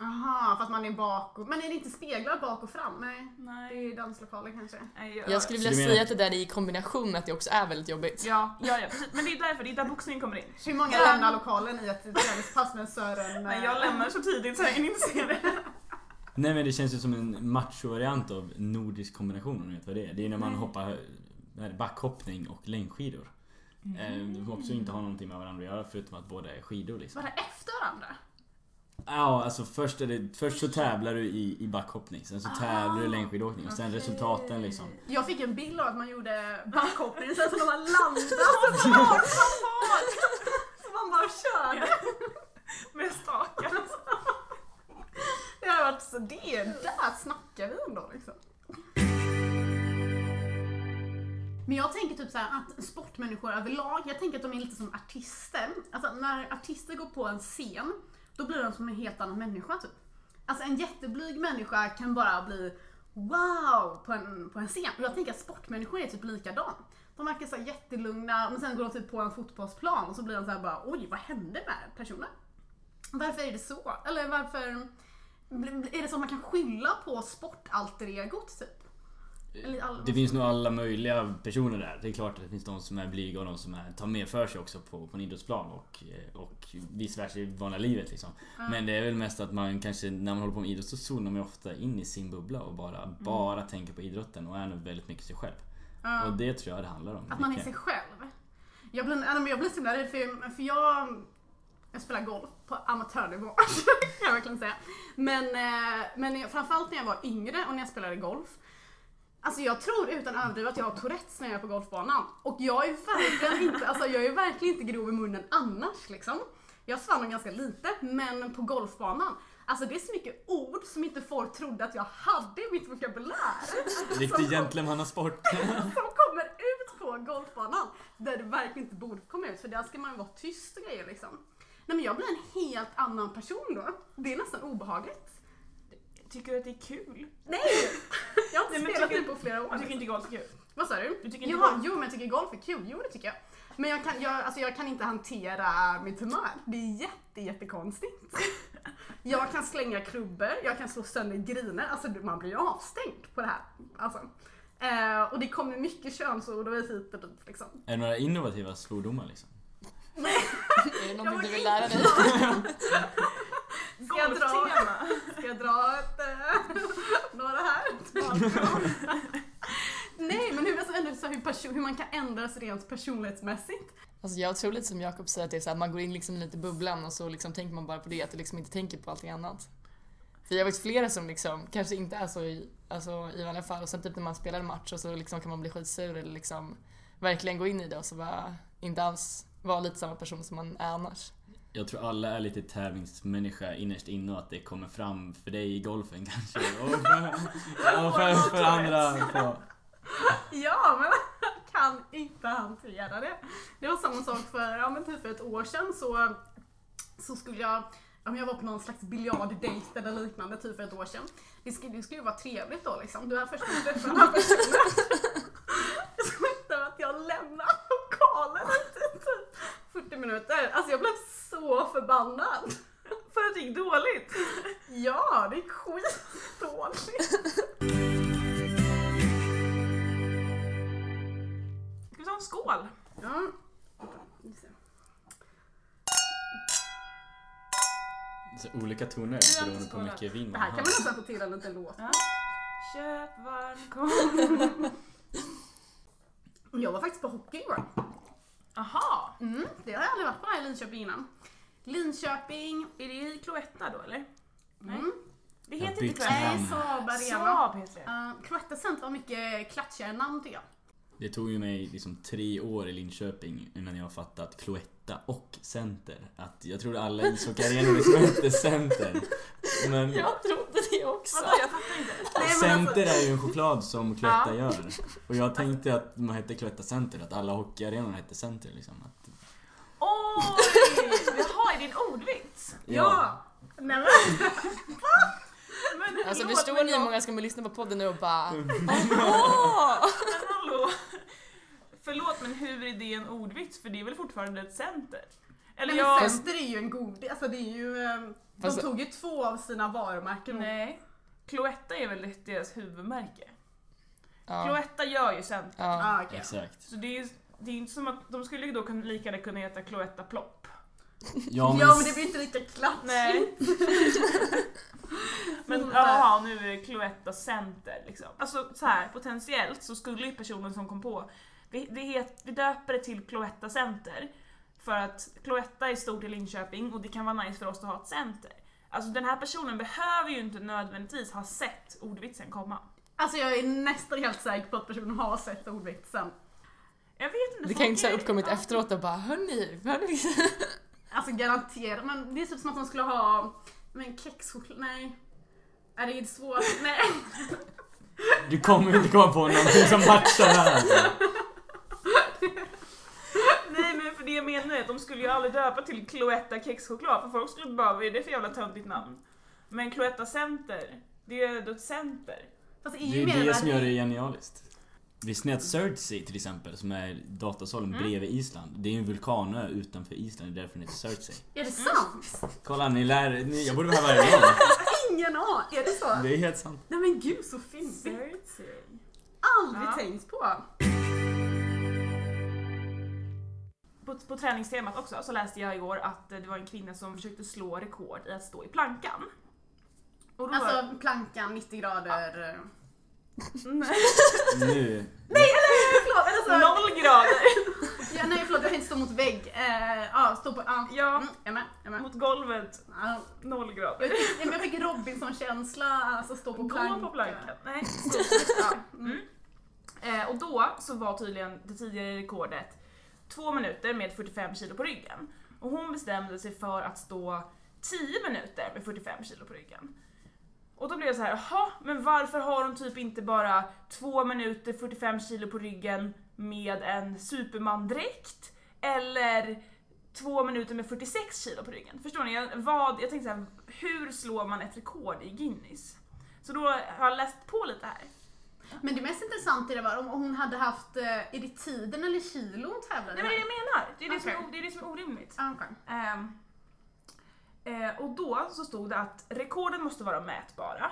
Speaker 2: Aha, för att man är bak och... Men är det inte speglar bak och fram? Nej. Det
Speaker 1: Nej.
Speaker 2: är danslokaler kanske.
Speaker 1: Nej, jag-
Speaker 4: Jag skulle
Speaker 3: Så
Speaker 4: vilja
Speaker 3: du menar-
Speaker 4: säga att det där är i kombination med att det också är väldigt jobbigt.
Speaker 2: Ja.
Speaker 1: Ja, ja, precis. Men det är därför, det är där boxningen kommer in.
Speaker 2: Hur många
Speaker 1: Ja.
Speaker 2: lämnar lokalen i ett träningspass med Sören? eh,
Speaker 1: Men jag lämnar så tidigt så jag hinner inte se det.
Speaker 3: Nej men det känns ju som en macho-variant av nordisk kombination om ni vet vad det är. Det är när man
Speaker 1: Nej.
Speaker 3: hoppar nej, backhoppning och längdskidor. Mm. De också inte har någonting med varandra att göra förutom att båda är skidor liksom.
Speaker 2: Bara efter varandra?
Speaker 3: Ja, alltså först, är det, först så tävlar du i, i backhoppning, sen så tävlar du i längdskidåkning och sen resultaten liksom.
Speaker 2: Jag fick en bild av att man gjorde backhoppning sen så när man landade [laughs] så fart som fart! Så man bara körde.
Speaker 1: Med staken.
Speaker 2: Det har varit så det, där snackar vi ändå liksom. Men jag tänker typ så här att sportmänniskor överlag, jag tänker att de är lite som artister. Alltså när artister går på en scen, då blir de som en helt annan människa typ. Alltså en jätteblyg människa kan bara bli wow på en, på en scen. Och jag tänker att sportmänniskor är typ likadan. De verkar så här jättelugna, men sen går de typ på en fotbollsplan och så blir de så här bara oj, vad hände med personen? Varför är det så? Eller varför är det så att man kan skylla på sportalter-egot typ? Eller alla-
Speaker 3: Det finns nog alla möjliga personer där. Det är klart att det finns de som är blyga och de som är, tar mer för sig också på, på en idrottsplan och, eh, och vice versa i vanliga livet liksom. Men det är väl mest att man kanske, när man håller på med idrott så zonar man ju ofta in i sin bubbla och bara,
Speaker 2: Mm.
Speaker 3: bara tänker på idrotten och är nog väldigt mycket sig själv.
Speaker 2: Ja.
Speaker 3: Och det tror jag det handlar om.
Speaker 2: Att man är
Speaker 3: mycket.
Speaker 2: sig själv. Jag blir, ja, men jag blir så himla rädd för, för jag, jag spelar golf på amatörnivå [laughs] kan jag verkligen säga. Men, eh, men jag- framförallt när jag var yngre och när jag spelade golf. Alltså jag tror utan överdrift att jag har Tourettes när jag är på golfbanan. Och jag är verkligen inte, alltså jag är verkligen inte grov i munnen annars liksom. Jag svär nog ganska lite, men på golfbanan. Alltså det är så mycket ord som inte folk trodde att jag hade i mitt vokabulär
Speaker 3: Riktig gentlemannasport. [laughs]
Speaker 2: [laughs] som kommer ut på golfbanan där det verkligen inte borde komma ut för där ska man ju vara tyst och grejer liksom. Nej men jag blir en helt annan person då. Det är nästan obehagligt.
Speaker 1: Tycker du att det är kul?
Speaker 2: Nej! [laughs] Jag har inte
Speaker 1: Nej, men
Speaker 2: spelat
Speaker 1: tycker-
Speaker 2: det på flera år.
Speaker 1: Du tycker inte golf är kul?
Speaker 2: Vad sa du?
Speaker 1: Du tycker inte
Speaker 2: Jaha,
Speaker 1: golf-
Speaker 2: jo men jag tycker golf är kul, jo det tycker jag. Men jag kan, jag, alltså jag kan inte hantera mitt humör. Det är jätte, jättekonstigt. [laughs] Jag kan slänga klubbor, jag kan slå sönder griner. Alltså du, man blir ju avstängd på det här. Alltså. Eh, och det kommer mycket könsord och hit och dit liksom.
Speaker 3: Är det några innovativa svordomar liksom?
Speaker 4: [laughs] Är det
Speaker 2: Jag
Speaker 4: någonting
Speaker 2: var
Speaker 4: du vill lära dig? [laughs]
Speaker 2: jag dra-
Speaker 1: Golftema!
Speaker 2: Ska jag dra ett, eh, några
Speaker 4: [laughs]
Speaker 2: här? Nej men hur, alltså, ändå så här, hur, person, hur man kan ändras rent personlighetsmässigt.
Speaker 4: Alltså jag tror lite som Jakob säger att det är så här, man går in liksom lite i bubblan och så liksom tänker man bara på det, att du liksom inte tänker på allting annat. För jag vet flera som liksom kanske inte är så i, alltså, i vanliga fall och sen typ när man spelar en match och så liksom kan man bli skitsur eller liksom verkligen gå in i det och så bara inte alls vara lite samma person som man är annars.
Speaker 3: Jag tror alla är lite tävlingsmänniska innerst inne och att det kommer fram för dig i golfen [laughs] kanske. Och för, och för, för andra på...
Speaker 2: Ja, men [laughs] kan inte hantera det. Det var samma sak för, ja, men typ för ett år sedan så, så skulle jag, ja, men jag var på någon slags biljarddejt eller liknande typ för ett år sedan. Det skulle, det skulle ju vara trevligt då liksom. Du har först träffat den här personen. [laughs] Så efter att jag lämnar lokalen efter typ 40 minuter. Alltså jag blev så förbannad. [laughs]
Speaker 1: För att det gick dåligt!
Speaker 2: Ja, det är skitdåligt.
Speaker 1: Ska vi ta en skål?
Speaker 2: Ja. Vänta, nu ser jag.
Speaker 3: Så olika toner beroende på hur mycket vin
Speaker 2: Det
Speaker 3: man
Speaker 2: här kan man
Speaker 3: har.
Speaker 2: nästan få till en liten låt.
Speaker 1: Ja. Köp varm korv.
Speaker 2: Jag var faktiskt på hockey igår.
Speaker 1: Aha!
Speaker 2: Mm, det har jag aldrig varit på här i Linköping innan. Linköping,
Speaker 1: Är det i Cloetta då eller? Nej.
Speaker 2: mm,
Speaker 1: Det
Speaker 3: Jag
Speaker 1: heter
Speaker 3: bytte
Speaker 1: inte Cloetta.
Speaker 3: namn.
Speaker 2: nej, Saab Arena.
Speaker 1: Saab heter det.
Speaker 2: Uh, Cloetta Center var mycket klatschigare namn tycker jag.
Speaker 3: Det tog ju mig liksom tre år i Linköping innan jag fattat att Cloetta och Center. Att jag trodde alla ishockeyarenor liksom hette Center. Men
Speaker 4: Jag trodde det också!
Speaker 1: Vadå jag fattar inte.
Speaker 3: Center
Speaker 2: alltså-
Speaker 3: är ju en choklad som Cloetta gör. Och jag tänkte att man hette Cloetta Center, att alla hockeyarenor hette Center liksom. Att,
Speaker 1: Oj! Jaha, är det en ordvits?
Speaker 2: Nej, men,
Speaker 1: Men
Speaker 4: Alltså
Speaker 1: förlåt,
Speaker 4: förstår
Speaker 1: men
Speaker 4: ni hur
Speaker 1: jag-
Speaker 4: många som kommer lyssna på podden nu och bara
Speaker 3: Mm.
Speaker 4: Åh!
Speaker 1: Men
Speaker 4: [laughs]
Speaker 1: hallå! Förlåt men hur är det en ordvits? För det är väl fortfarande ett center? Eller
Speaker 2: nej,
Speaker 1: jag...
Speaker 2: men Center är ju en god, alltså det är ju, eh, de
Speaker 4: Fast-
Speaker 2: tog ju två av sina varumärken.
Speaker 1: Nej. Cloetta är väl deras huvudmärke?
Speaker 4: Ja,
Speaker 1: Cloetta gör ju center.
Speaker 4: ja.
Speaker 2: Ah, okej.
Speaker 3: Exakt.
Speaker 1: Så det är ju det är ju inte som att de skulle ju då kunna, lika gärna kunna heta Cloetta Plopp.
Speaker 3: Ja men,
Speaker 2: Ja men det blir inte lika klatschigt.
Speaker 1: Nej. [laughs] Men jaha, nu är det Cloetta Center liksom. Alltså så här, potentiellt så skulle ju personen som kom på, vi, vi, het, vi döper det till Cloetta Center för att Cloetta är stort i Linköping och det kan vara nice för oss att ha ett center. Alltså den här personen behöver ju inte nödvändigtvis ha sett ordvitsen komma.
Speaker 2: Alltså jag är nästan helt säker på att personen har sett ordvitsen.
Speaker 1: Jag vet inte.
Speaker 4: Det
Speaker 1: folk
Speaker 4: kan ju inte så här
Speaker 1: är-
Speaker 4: uppkommit
Speaker 1: ja.
Speaker 4: efteråt och bara hörni, hörni.
Speaker 2: Alltså garanterat, men det är typ som att de skulle ha, men kexchoklad, nej. Är det är svårt, nej.
Speaker 3: du kommer ju inte komma på någonting som matchar det här. alltså.
Speaker 1: Nej men för det jag menar är att de skulle ju aldrig döpa till Cloetta kexchoklad för folk skulle bara, vad är det för jävla töntigt namn? Men Cloetta Center, det är ju ett center.
Speaker 2: Fast det är
Speaker 3: Det
Speaker 2: ju
Speaker 3: är
Speaker 2: mer
Speaker 3: det som
Speaker 2: att-
Speaker 3: gör det genialiskt. Visste ni att Surtsey till exempel, som är datasalen
Speaker 1: Mm.
Speaker 3: bredvid Island, det är ju en vulkanö utanför Island, det är därför den heter Surtsey.
Speaker 2: Är det sant?
Speaker 3: Kolla, ni lär ni, Jag borde vara här varje dag.
Speaker 1: Mm.
Speaker 2: Ingen aning, är det så?
Speaker 3: Det är helt sant.
Speaker 2: Nej men gud så fint.
Speaker 1: Surtsey.
Speaker 2: Aldrig
Speaker 1: Ja.
Speaker 2: tänkt på.
Speaker 1: På, på träningstemat också så läste jag igår att eh, det var en kvinna som försökte slå rekord i att stå i plankan. Och då var...
Speaker 2: Alltså plankan 90 grader. eh.
Speaker 1: Nej,
Speaker 2: [laughs]
Speaker 3: Nu.
Speaker 2: Nej eller förlåt! Eller [laughs] så,
Speaker 1: noll grader!
Speaker 2: ja, nej förlåt jag tänkte stå mot vägg. Eh, Ja, stå på... Ja.
Speaker 1: Ja,
Speaker 2: Mm, jag med, jag med.
Speaker 1: mot golvet,
Speaker 2: Ja,
Speaker 1: noll
Speaker 2: jag
Speaker 1: grader.
Speaker 2: fick- Jag fick Robinson-känsla, alltså stå på plankan.
Speaker 1: Gå på plankan. Nej, så-
Speaker 2: Ja.
Speaker 1: Mm. Eh, och då så var tydligen det tidigare rekordet två minuter med 45 kilo på ryggen. Och hon bestämde sig för att stå 10 minuter med 45 kilo på ryggen. Och då blev jag så här, jaha, men varför har hon typ inte bara två minuter 45 kilo på ryggen med en supermandräkt? Eller två minuter med 46 kilo på ryggen? Förstår ni? Jag, vad, jag tänkte så här, hur slår man ett rekord i Guinness? Så då har jag läst på lite här.
Speaker 2: Men det mest intressanta i det var om hon hade haft, eh, är det tiden eller kilo hon tävlade
Speaker 1: Nej men det är det
Speaker 2: med?
Speaker 1: jag menar. Det är det, som, är,
Speaker 2: Okej.
Speaker 1: o- det, är det som är orimligt.
Speaker 2: Ah, okej.
Speaker 1: Ehm, eh, och då så stod det att rekorden måste vara mätbara.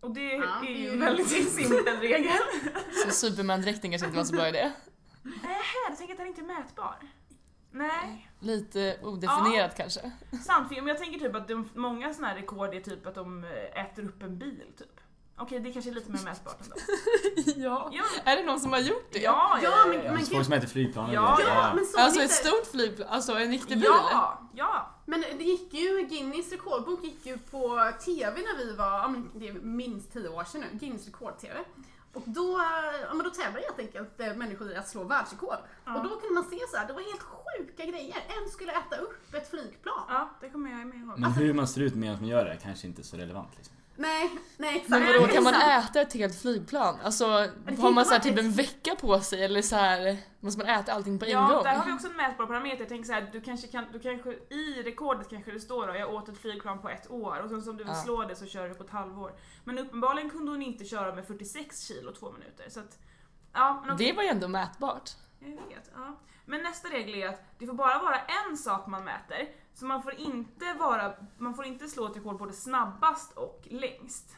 Speaker 1: Och det
Speaker 2: Ja, Mm.
Speaker 1: är
Speaker 2: det är
Speaker 1: ju
Speaker 2: ju-
Speaker 1: en
Speaker 2: [laughs]
Speaker 1: väldigt simpel regel.
Speaker 4: Så Superman-dräkten kanske inte var så bra idé.
Speaker 1: Nähä, du tänker att den inte är mätbar? Nej.
Speaker 4: Lite odefinierat kanske.
Speaker 1: Sant, för men jag tänker typ att de, många sådana här rekord är typ att de eh, äter upp en bil typ. Okej, det kanske är lite mer mätbart ändå.
Speaker 4: Ja.
Speaker 1: Ja,
Speaker 4: Är det någon som har gjort det?
Speaker 1: ja,
Speaker 2: Ja, men, men,
Speaker 3: Folk
Speaker 2: gud.
Speaker 3: som äter flygplan och
Speaker 1: Ja.
Speaker 3: grejer.
Speaker 2: Ja, men så
Speaker 4: Alltså
Speaker 2: det
Speaker 4: ett
Speaker 2: inte-
Speaker 4: stort flygplan, alltså en riktig bil?
Speaker 1: Ja, ja.
Speaker 2: Men det gick ju, Guinness rekordbok gick ju på TV när vi var, ja, men det är minst 10 år sedan nu, Guinness rekord-TV. Och då, eh, ja, men då tävlade helt enkelt eh, människor i att slå världsrekord.
Speaker 1: Ja.
Speaker 2: Och då kunde man se så här, det var helt sjuka grejer. En skulle äta upp ett flygplan.
Speaker 1: Ja, det kommer jag med ihåg.
Speaker 3: Men
Speaker 2: Alltså-
Speaker 3: hur man ser ut medan man gör det är kanske inte så relevant. Liksom.
Speaker 2: Nej, nej exakt.
Speaker 4: Men vadå, kan man
Speaker 2: Exakt.
Speaker 4: äta ett helt flygplan? Alltså
Speaker 2: kan
Speaker 4: har
Speaker 2: inte
Speaker 4: man så här
Speaker 2: vara
Speaker 4: typ
Speaker 2: ett-
Speaker 4: en vecka på sig eller så här måste man äta allting på en
Speaker 1: Ja,
Speaker 4: gång?
Speaker 1: där har vi också en mätbar parameter. Jag tänker så här, du kanske kan, du kanske, i rekordet kanske det står då, jag åt ett flygplan på ett år och sen som du vill
Speaker 4: Ja.
Speaker 1: slå det så kör du på ett halvår. Men uppenbarligen kunde hon inte köra med 46 kilo två minuter. Så att, ja, men
Speaker 4: Det
Speaker 1: okej.
Speaker 4: var ju ändå mätbart.
Speaker 1: Jag vet, ja. Men nästa regel är att det får bara vara en sak man mäter, så man får inte, vara, man får inte slå ett rekord både snabbast och längst.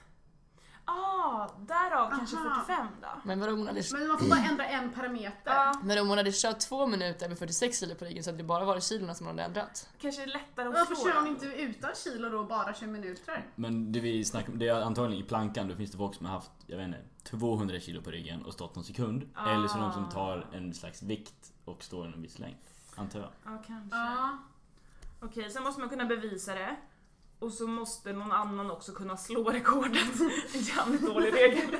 Speaker 1: Ah, därav kanske
Speaker 2: Aha.
Speaker 1: 45 då.
Speaker 4: Men vadå om hon hade,
Speaker 2: Men man får bara ändra en parameter.
Speaker 1: Ja,
Speaker 4: men om hon hade kört två minuter med 46 kilo på ryggen så hade det bara varit kilona som hon hade ändrat.
Speaker 1: kanske är det lättare att
Speaker 2: Varför
Speaker 1: slå.
Speaker 2: kör
Speaker 1: den.
Speaker 2: hon inte utan kilo då och bara kör minuter?
Speaker 3: Men det vi snackar om, det är antagligen i plankan, då finns det folk som har haft, jag vet inte, 200 kilo på ryggen och stått någon sekund.
Speaker 1: Ah.
Speaker 3: Eller så de som tar en slags vikt och står en viss längd. Antar jag.
Speaker 1: Ja, kanske.
Speaker 2: Ja.
Speaker 1: Okej, sen måste man kunna bevisa det. Och så måste någon annan också kunna slå
Speaker 2: [laughs]
Speaker 1: rekordet. En jävligt dålig regel.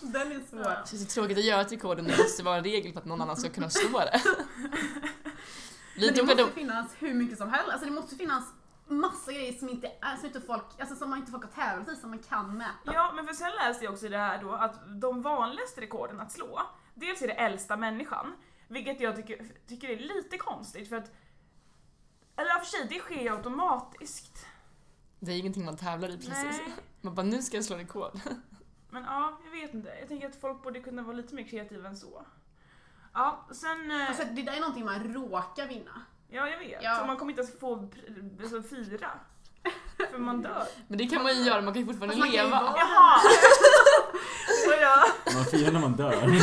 Speaker 2: Den är svår.
Speaker 1: Ja.
Speaker 4: Så det är så tråkigt att göra ett rekord om det måste vara en regel för att någon annan ska kunna slå det.
Speaker 2: Men
Speaker 4: Lite
Speaker 2: det
Speaker 4: om det
Speaker 2: måste finnas hur mycket som helst. Alltså det måste finnas massa grejer som inte, är- som inte folk, alltså som man inte folk har tävlat i som man kan mäta.
Speaker 1: Ja, men för sen läste jag också i det här då att de vanligaste rekorden att slå, dels är det äldsta människan, vilket jag tycker, tycker är lite konstigt för att eller ja, för sig, det sker ju automatiskt.
Speaker 4: Det är ingenting man tävlar i precis.
Speaker 1: Nej,
Speaker 4: Man bara, nu ska jag slå rekord.
Speaker 1: men ja, jag vet inte. Jag tänker att folk borde kunna vara lite mer kreativa än så. Ja, sen... eh,
Speaker 2: Alltså det där är någonting man råkar vinna.
Speaker 1: Ja, jag vet.
Speaker 2: Ja.
Speaker 1: Så man kommer inte ens få pr- alltså, fira. För man dör.
Speaker 4: Men det kan man ju göra, man kan ju fortfarande
Speaker 2: Fast man kan ju
Speaker 4: leva.
Speaker 2: vara-
Speaker 1: Jaha! [laughs] Så ja,
Speaker 3: Man firar när man dör.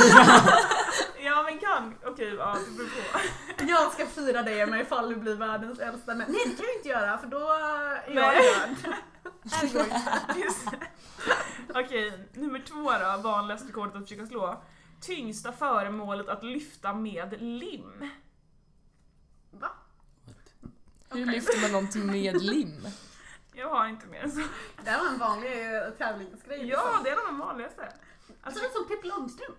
Speaker 1: ja men kan. Okej, ja det beror [laughs] på.
Speaker 2: Jag ska fira dig med ifall du blir världens äldsta men Nej det kan du inte göra för då är jag
Speaker 1: Nej.
Speaker 2: död.
Speaker 1: Just det. Okej, nummer två då, vanligaste rekordet att försöka slå. Tyngsta föremålet att lyfta med lim.
Speaker 2: Va?
Speaker 4: Hur lyfter man någonting med lim?
Speaker 1: Jag har inte mer än så.
Speaker 2: Det här var en vanlig eh, tävlingsgrej. liksom.
Speaker 1: Ja, det är en av de vanligaste.
Speaker 2: Alltså
Speaker 1: Alltså,
Speaker 2: det är som Pippi Långstrump.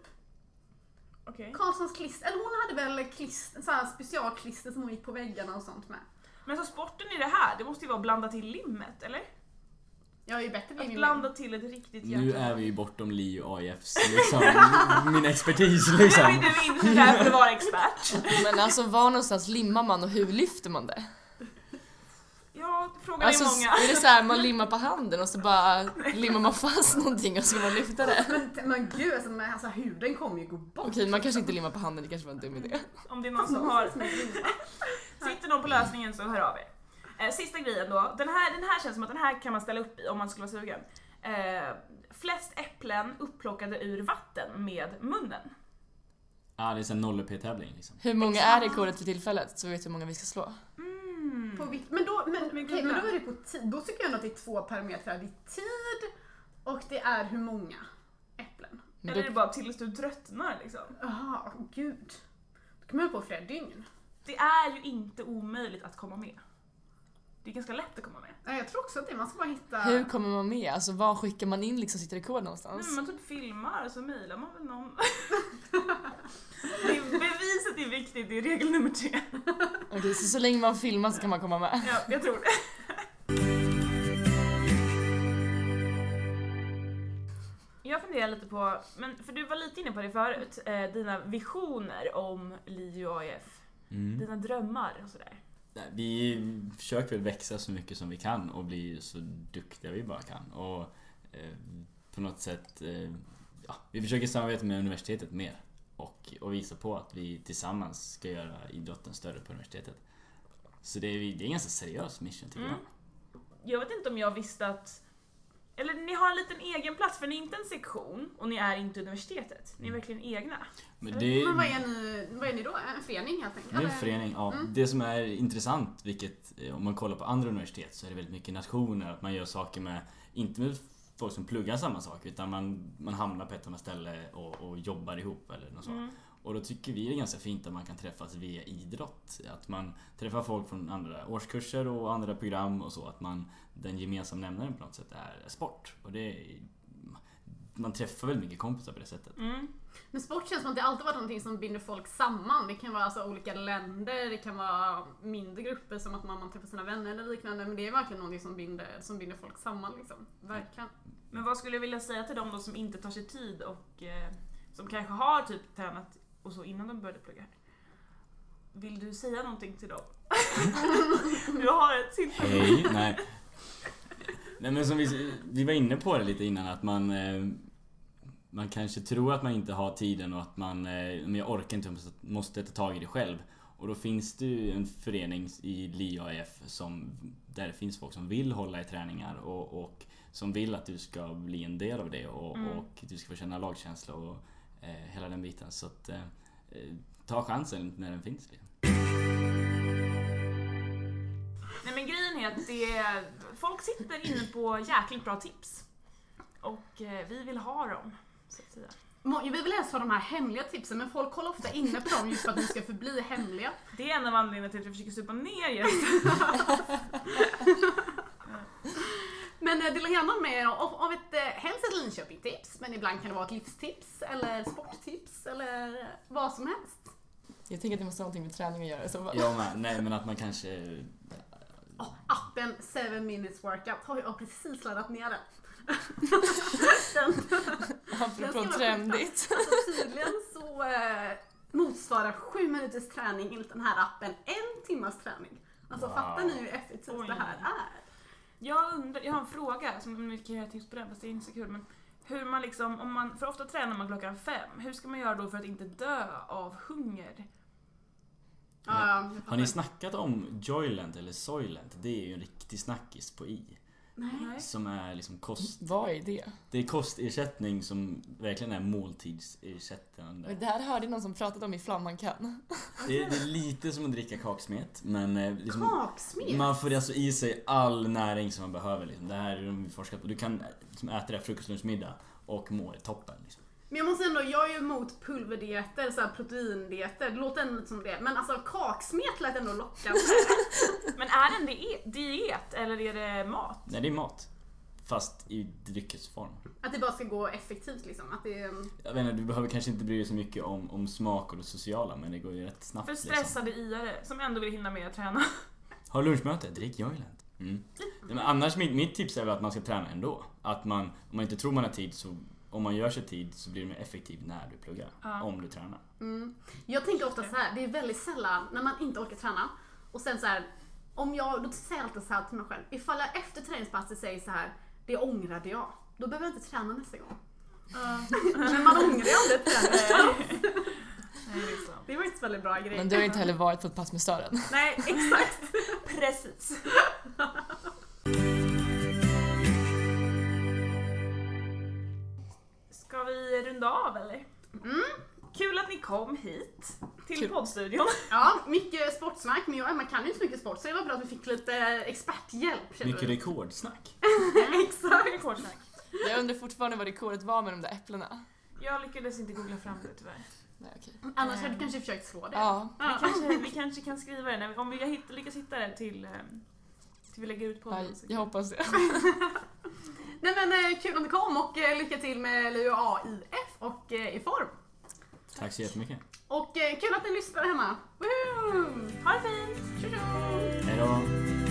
Speaker 1: okej.
Speaker 2: Karlssons klister, eller hon hade väl klister, så här specialklister som hon gick på väggarna och sånt med.
Speaker 1: Men så sporten i det här, det måste ju vara att blanda till limmet, eller?
Speaker 2: Jag är ju bättre på
Speaker 1: Att
Speaker 2: min
Speaker 1: blanda till ett riktigt hjärta.
Speaker 3: Nu är vi ju bortom Li och AIFs liksom, [laughs] min expertis liksom.
Speaker 1: [laughs] Nu är du inte där för att vara expert.
Speaker 4: Men alltså var någonstans limmar man och hur lyfter man det?
Speaker 1: Ja, frågan
Speaker 4: Alltså
Speaker 1: är många.
Speaker 4: är det så här man limmar på handen och så bara limmar man fast någonting och så ska man lyfta det?
Speaker 2: Men, men gud alltså, men, alltså huden kommer ju gå bort.
Speaker 4: Okej, man kanske inte limmar på handen, det kanske var en dum idé.
Speaker 1: Om det är någon som har... Sitter någon på lösningen så hör av er. Eh, sista grejen då. Den här, den här känns som att den här kan man ställa upp i om man skulle vara sugen. Eh, flest äpplen upplockade ur vatten med munnen.
Speaker 3: Ja, det är en 0 tävling liksom.
Speaker 4: Hur många är rekordet för tillfället så vi vet hur många vi ska slå?
Speaker 1: Mm.
Speaker 2: På vikt. Men, då, men,
Speaker 1: Men
Speaker 2: okej,
Speaker 1: gud,
Speaker 2: men då
Speaker 1: ja.
Speaker 2: är det på tid. Då tycker jag ändå att det är två parametrar. Det är tid och det är hur många äpplen.
Speaker 4: Men
Speaker 1: Eller är
Speaker 4: då,
Speaker 1: det bara tills du tröttnar liksom?
Speaker 2: Jaha, åh, gud. Då kommer jag på flera dygn.
Speaker 1: Det är ju inte omöjligt att komma med. Det är ganska lätt att komma med.
Speaker 2: Nej, jag tror också att det. Man ska bara hitta...
Speaker 4: hur kommer man med? Alltså var skickar man in liksom sitt rekord
Speaker 1: Nej,
Speaker 4: någonstans?
Speaker 1: men man typ filmar så mejlar man väl någon. [laughs] Det är- Beviset är viktigt, det är regel nummer tre.
Speaker 4: Okej, så så länge man filmar så kan man komma med.
Speaker 1: Ja, jag tror det. Jag funderar lite på, men för du var lite inne på det förut, eh, dina visioner om LiU AIF.
Speaker 3: Mm.
Speaker 1: E Dina drömmar och sådär.
Speaker 3: Nej, Vi försöker väl växa så mycket som vi kan och bli så duktiga vi bara kan. Och eh, på något sätt... Eh, ja, vi försöker samarbeta med universitetet mer och, och visa på att vi tillsammans ska göra idrotten större på universitetet. Så det är, det är en ganska seriös mission tycker
Speaker 1: Mm. Jag vet inte om jag visste att... Eller ni har en liten egen plats för ni är inte en sektion och ni är inte universitetet. Ni är verkligen egna.
Speaker 3: jag. Men det,
Speaker 2: Men vad är, ni, vad är ni då? En förening helt enkelt?
Speaker 3: Det är en
Speaker 2: Eller-
Speaker 3: förening, ja. Det som är intressant, vilket eh, om man kollar på andra universitet så är det väldigt mycket nationer, att man gör saker med, inte med folk som pluggar samma sak, utan man, man hamnar på ett och samma ställe och, och jobbar ihop eller något sånt. Och då tycker vi det är ganska fint att man kan träffas via idrott. Att man träffar folk från andra årskurser och andra program och så. Att man, den gemensamma nämnaren på något sätt är sport. Och det, är- man träffar väldigt mycket kompisar på det sättet.
Speaker 1: Mm.
Speaker 2: Men sport känns som att det alltid varit någonting som binder folk samman. Det kan vara alltså olika länder, det kan vara mindre grupper som att man, man träffar sina vänner eller liknande. Men det är verkligen någonting som binder, som binder folk samman liksom. Verkligen.
Speaker 1: Men vad skulle jag vilja säga till dem då som inte tar sig tid och eh, som kanske har typ tränat och så innan de började plugga? Vill du säga någonting till dem? [laughs] du har ett sinne.
Speaker 3: Hej, nej. Nej men som vi, vi var inne på det lite innan att man eh, Man kanske tror att man inte har tiden och att man eh, Men jag orkar inte, jag måste- måste ta tag i det själv Och då finns det ju en förening i LIAF som Där det finns folk som vill hålla i träningar och, och Som vill att du ska bli en del av det och,
Speaker 1: Mm.
Speaker 3: och du ska få känna lagkänsla och eh, Hela den biten så att eh, eh, Ta chansen när den finns liksom.
Speaker 1: Nej men grejen är att det, folk sitter inne på jäkligt bra tips. Och eh, vi vill ha dem. Så att säga.
Speaker 2: Må- Vi vill helst ha de här hemliga tipsen men folk håller ofta inne på dem just för att de ska förbli hemliga.
Speaker 1: Det är en av anledningarna till att vi försöker supa ner gästen.
Speaker 2: Men eh, dela gärna med er av, av ett, eh, helst ett Linköping-tips men ibland kan det vara ett livstips eller sporttips eller eh, vad som helst.
Speaker 4: Jag tänker att det måste ha någonting med träning att göra. Så [laughs] bara,
Speaker 3: Jag med, nej men att man kanske
Speaker 2: Och appen 7 minutes workout har jag precis laddat ner den. [laughs] den Jag ska
Speaker 4: apropå
Speaker 2: vara
Speaker 4: trendigt.
Speaker 2: Alltså tydligen så eh, motsvarar sju minuters träning enligt den här appen en timmas träning. Alltså
Speaker 3: Wow.
Speaker 2: fattar ni hur effektivt
Speaker 1: Oj.
Speaker 2: det här är?
Speaker 1: Jag undrar, jag har en fråga som vi kan göra tips på den fast det är inte så kul men hur man liksom, om man, för ofta tränar man klockan fem, hur ska man göra då för att inte dö av hunger?
Speaker 2: Ja, ja, jag
Speaker 3: Har ni
Speaker 2: fattar.
Speaker 3: snackat om Joylent eller Soylent? Det är ju en riktig snackis på I.
Speaker 2: Nej.
Speaker 3: Som är liksom kost...
Speaker 4: Vad är det?
Speaker 3: Det är kostersättning som verkligen är måltidsersättande.
Speaker 4: Det här hörde jag någon som pratat om i Flamman kan.
Speaker 3: Det är, det är lite som att dricka kaksmet men eh, liksom,
Speaker 2: Kaksmet?
Speaker 3: man får alltså i sig all näring som man behöver. Liksom. Det här är de forskat på. Du kan eh, liksom, äta det här frukost, lunch, middag och må toppen. Liksom.
Speaker 2: Men jag måste ändå, jag är ju emot pulverdieter, så här proteindieter, det låter ändå lite som det. Men alltså kaksmet lät ändå lockande.
Speaker 1: Men är det en die- diet eller är det mat?
Speaker 3: Nej, det är mat. Fast i dryckesform.
Speaker 2: att det bara ska gå effektivt liksom. Att det,
Speaker 3: Jag vet inte, du behöver kanske inte bry dig så mycket om, om smak och det sociala men det går ju rätt snabbt.
Speaker 1: För
Speaker 3: liksom.
Speaker 1: stressade iare som ändå vill hinna med att träna.
Speaker 3: Har lunchmöte, drick Joylent. Mm. Nej, men annars, mitt, mitt tips är väl att man ska träna ändå. Att man, om man inte tror man har tid så, om man gör sig tid så blir du mer effektiv när du pluggar.
Speaker 1: Ja.
Speaker 3: Om du tränar.
Speaker 2: Mm. Jag tänker ofta så här, det är väldigt sällan när man inte orkar träna och sen så här, om jag, då säger jag alltid så här till mig själv, ifall jag efter träningspasset säger så här, det ångrade jag, då behöver jag inte träna nästa gång. Men man ångrar ju aldrig ett träning.
Speaker 1: [laughs] Nej, liksom.
Speaker 2: Det var inte så väldigt bra grej.
Speaker 4: Men du har inte heller varit på ett pass med Sören.
Speaker 2: Nej, exakt. [laughs]
Speaker 1: Precis. Ska vi runda av eller?
Speaker 2: Mm.
Speaker 1: Kul att ni kom hit till
Speaker 4: Kul.
Speaker 1: poddstudion.
Speaker 2: Ja, mycket sportsnack, men jag och Emma kan ju inte så mycket sport så det var bra att vi fick lite experthjälp. känner
Speaker 3: Mycket
Speaker 2: vi.
Speaker 3: rekordsnack.
Speaker 2: [laughs] Exakt.
Speaker 1: Rekordsnack.
Speaker 4: Jag undrar fortfarande vad rekordet var med de där äpplena.
Speaker 1: Jag lyckades inte googla fram det tyvärr.
Speaker 4: Nej, okej.
Speaker 2: Annars hade du kanske försökt slå det.
Speaker 4: Ja,
Speaker 1: Vi kanske, vi kanske kan skriva det när vi, om vi hitt, lyckas hitta det till, eh, till vi lägger ut
Speaker 4: ja,
Speaker 1: podden. så-
Speaker 4: jag hoppas det.
Speaker 2: Nej men eh, kul att ni kom och eh, lycka till med LUAIF och eh, i form.
Speaker 3: Tack så jättemycket.
Speaker 2: Och eh, kul att ni lyssnar hemma. Woohoo!
Speaker 1: Ha det fint!
Speaker 2: Tjo tjo!
Speaker 3: Hejdå!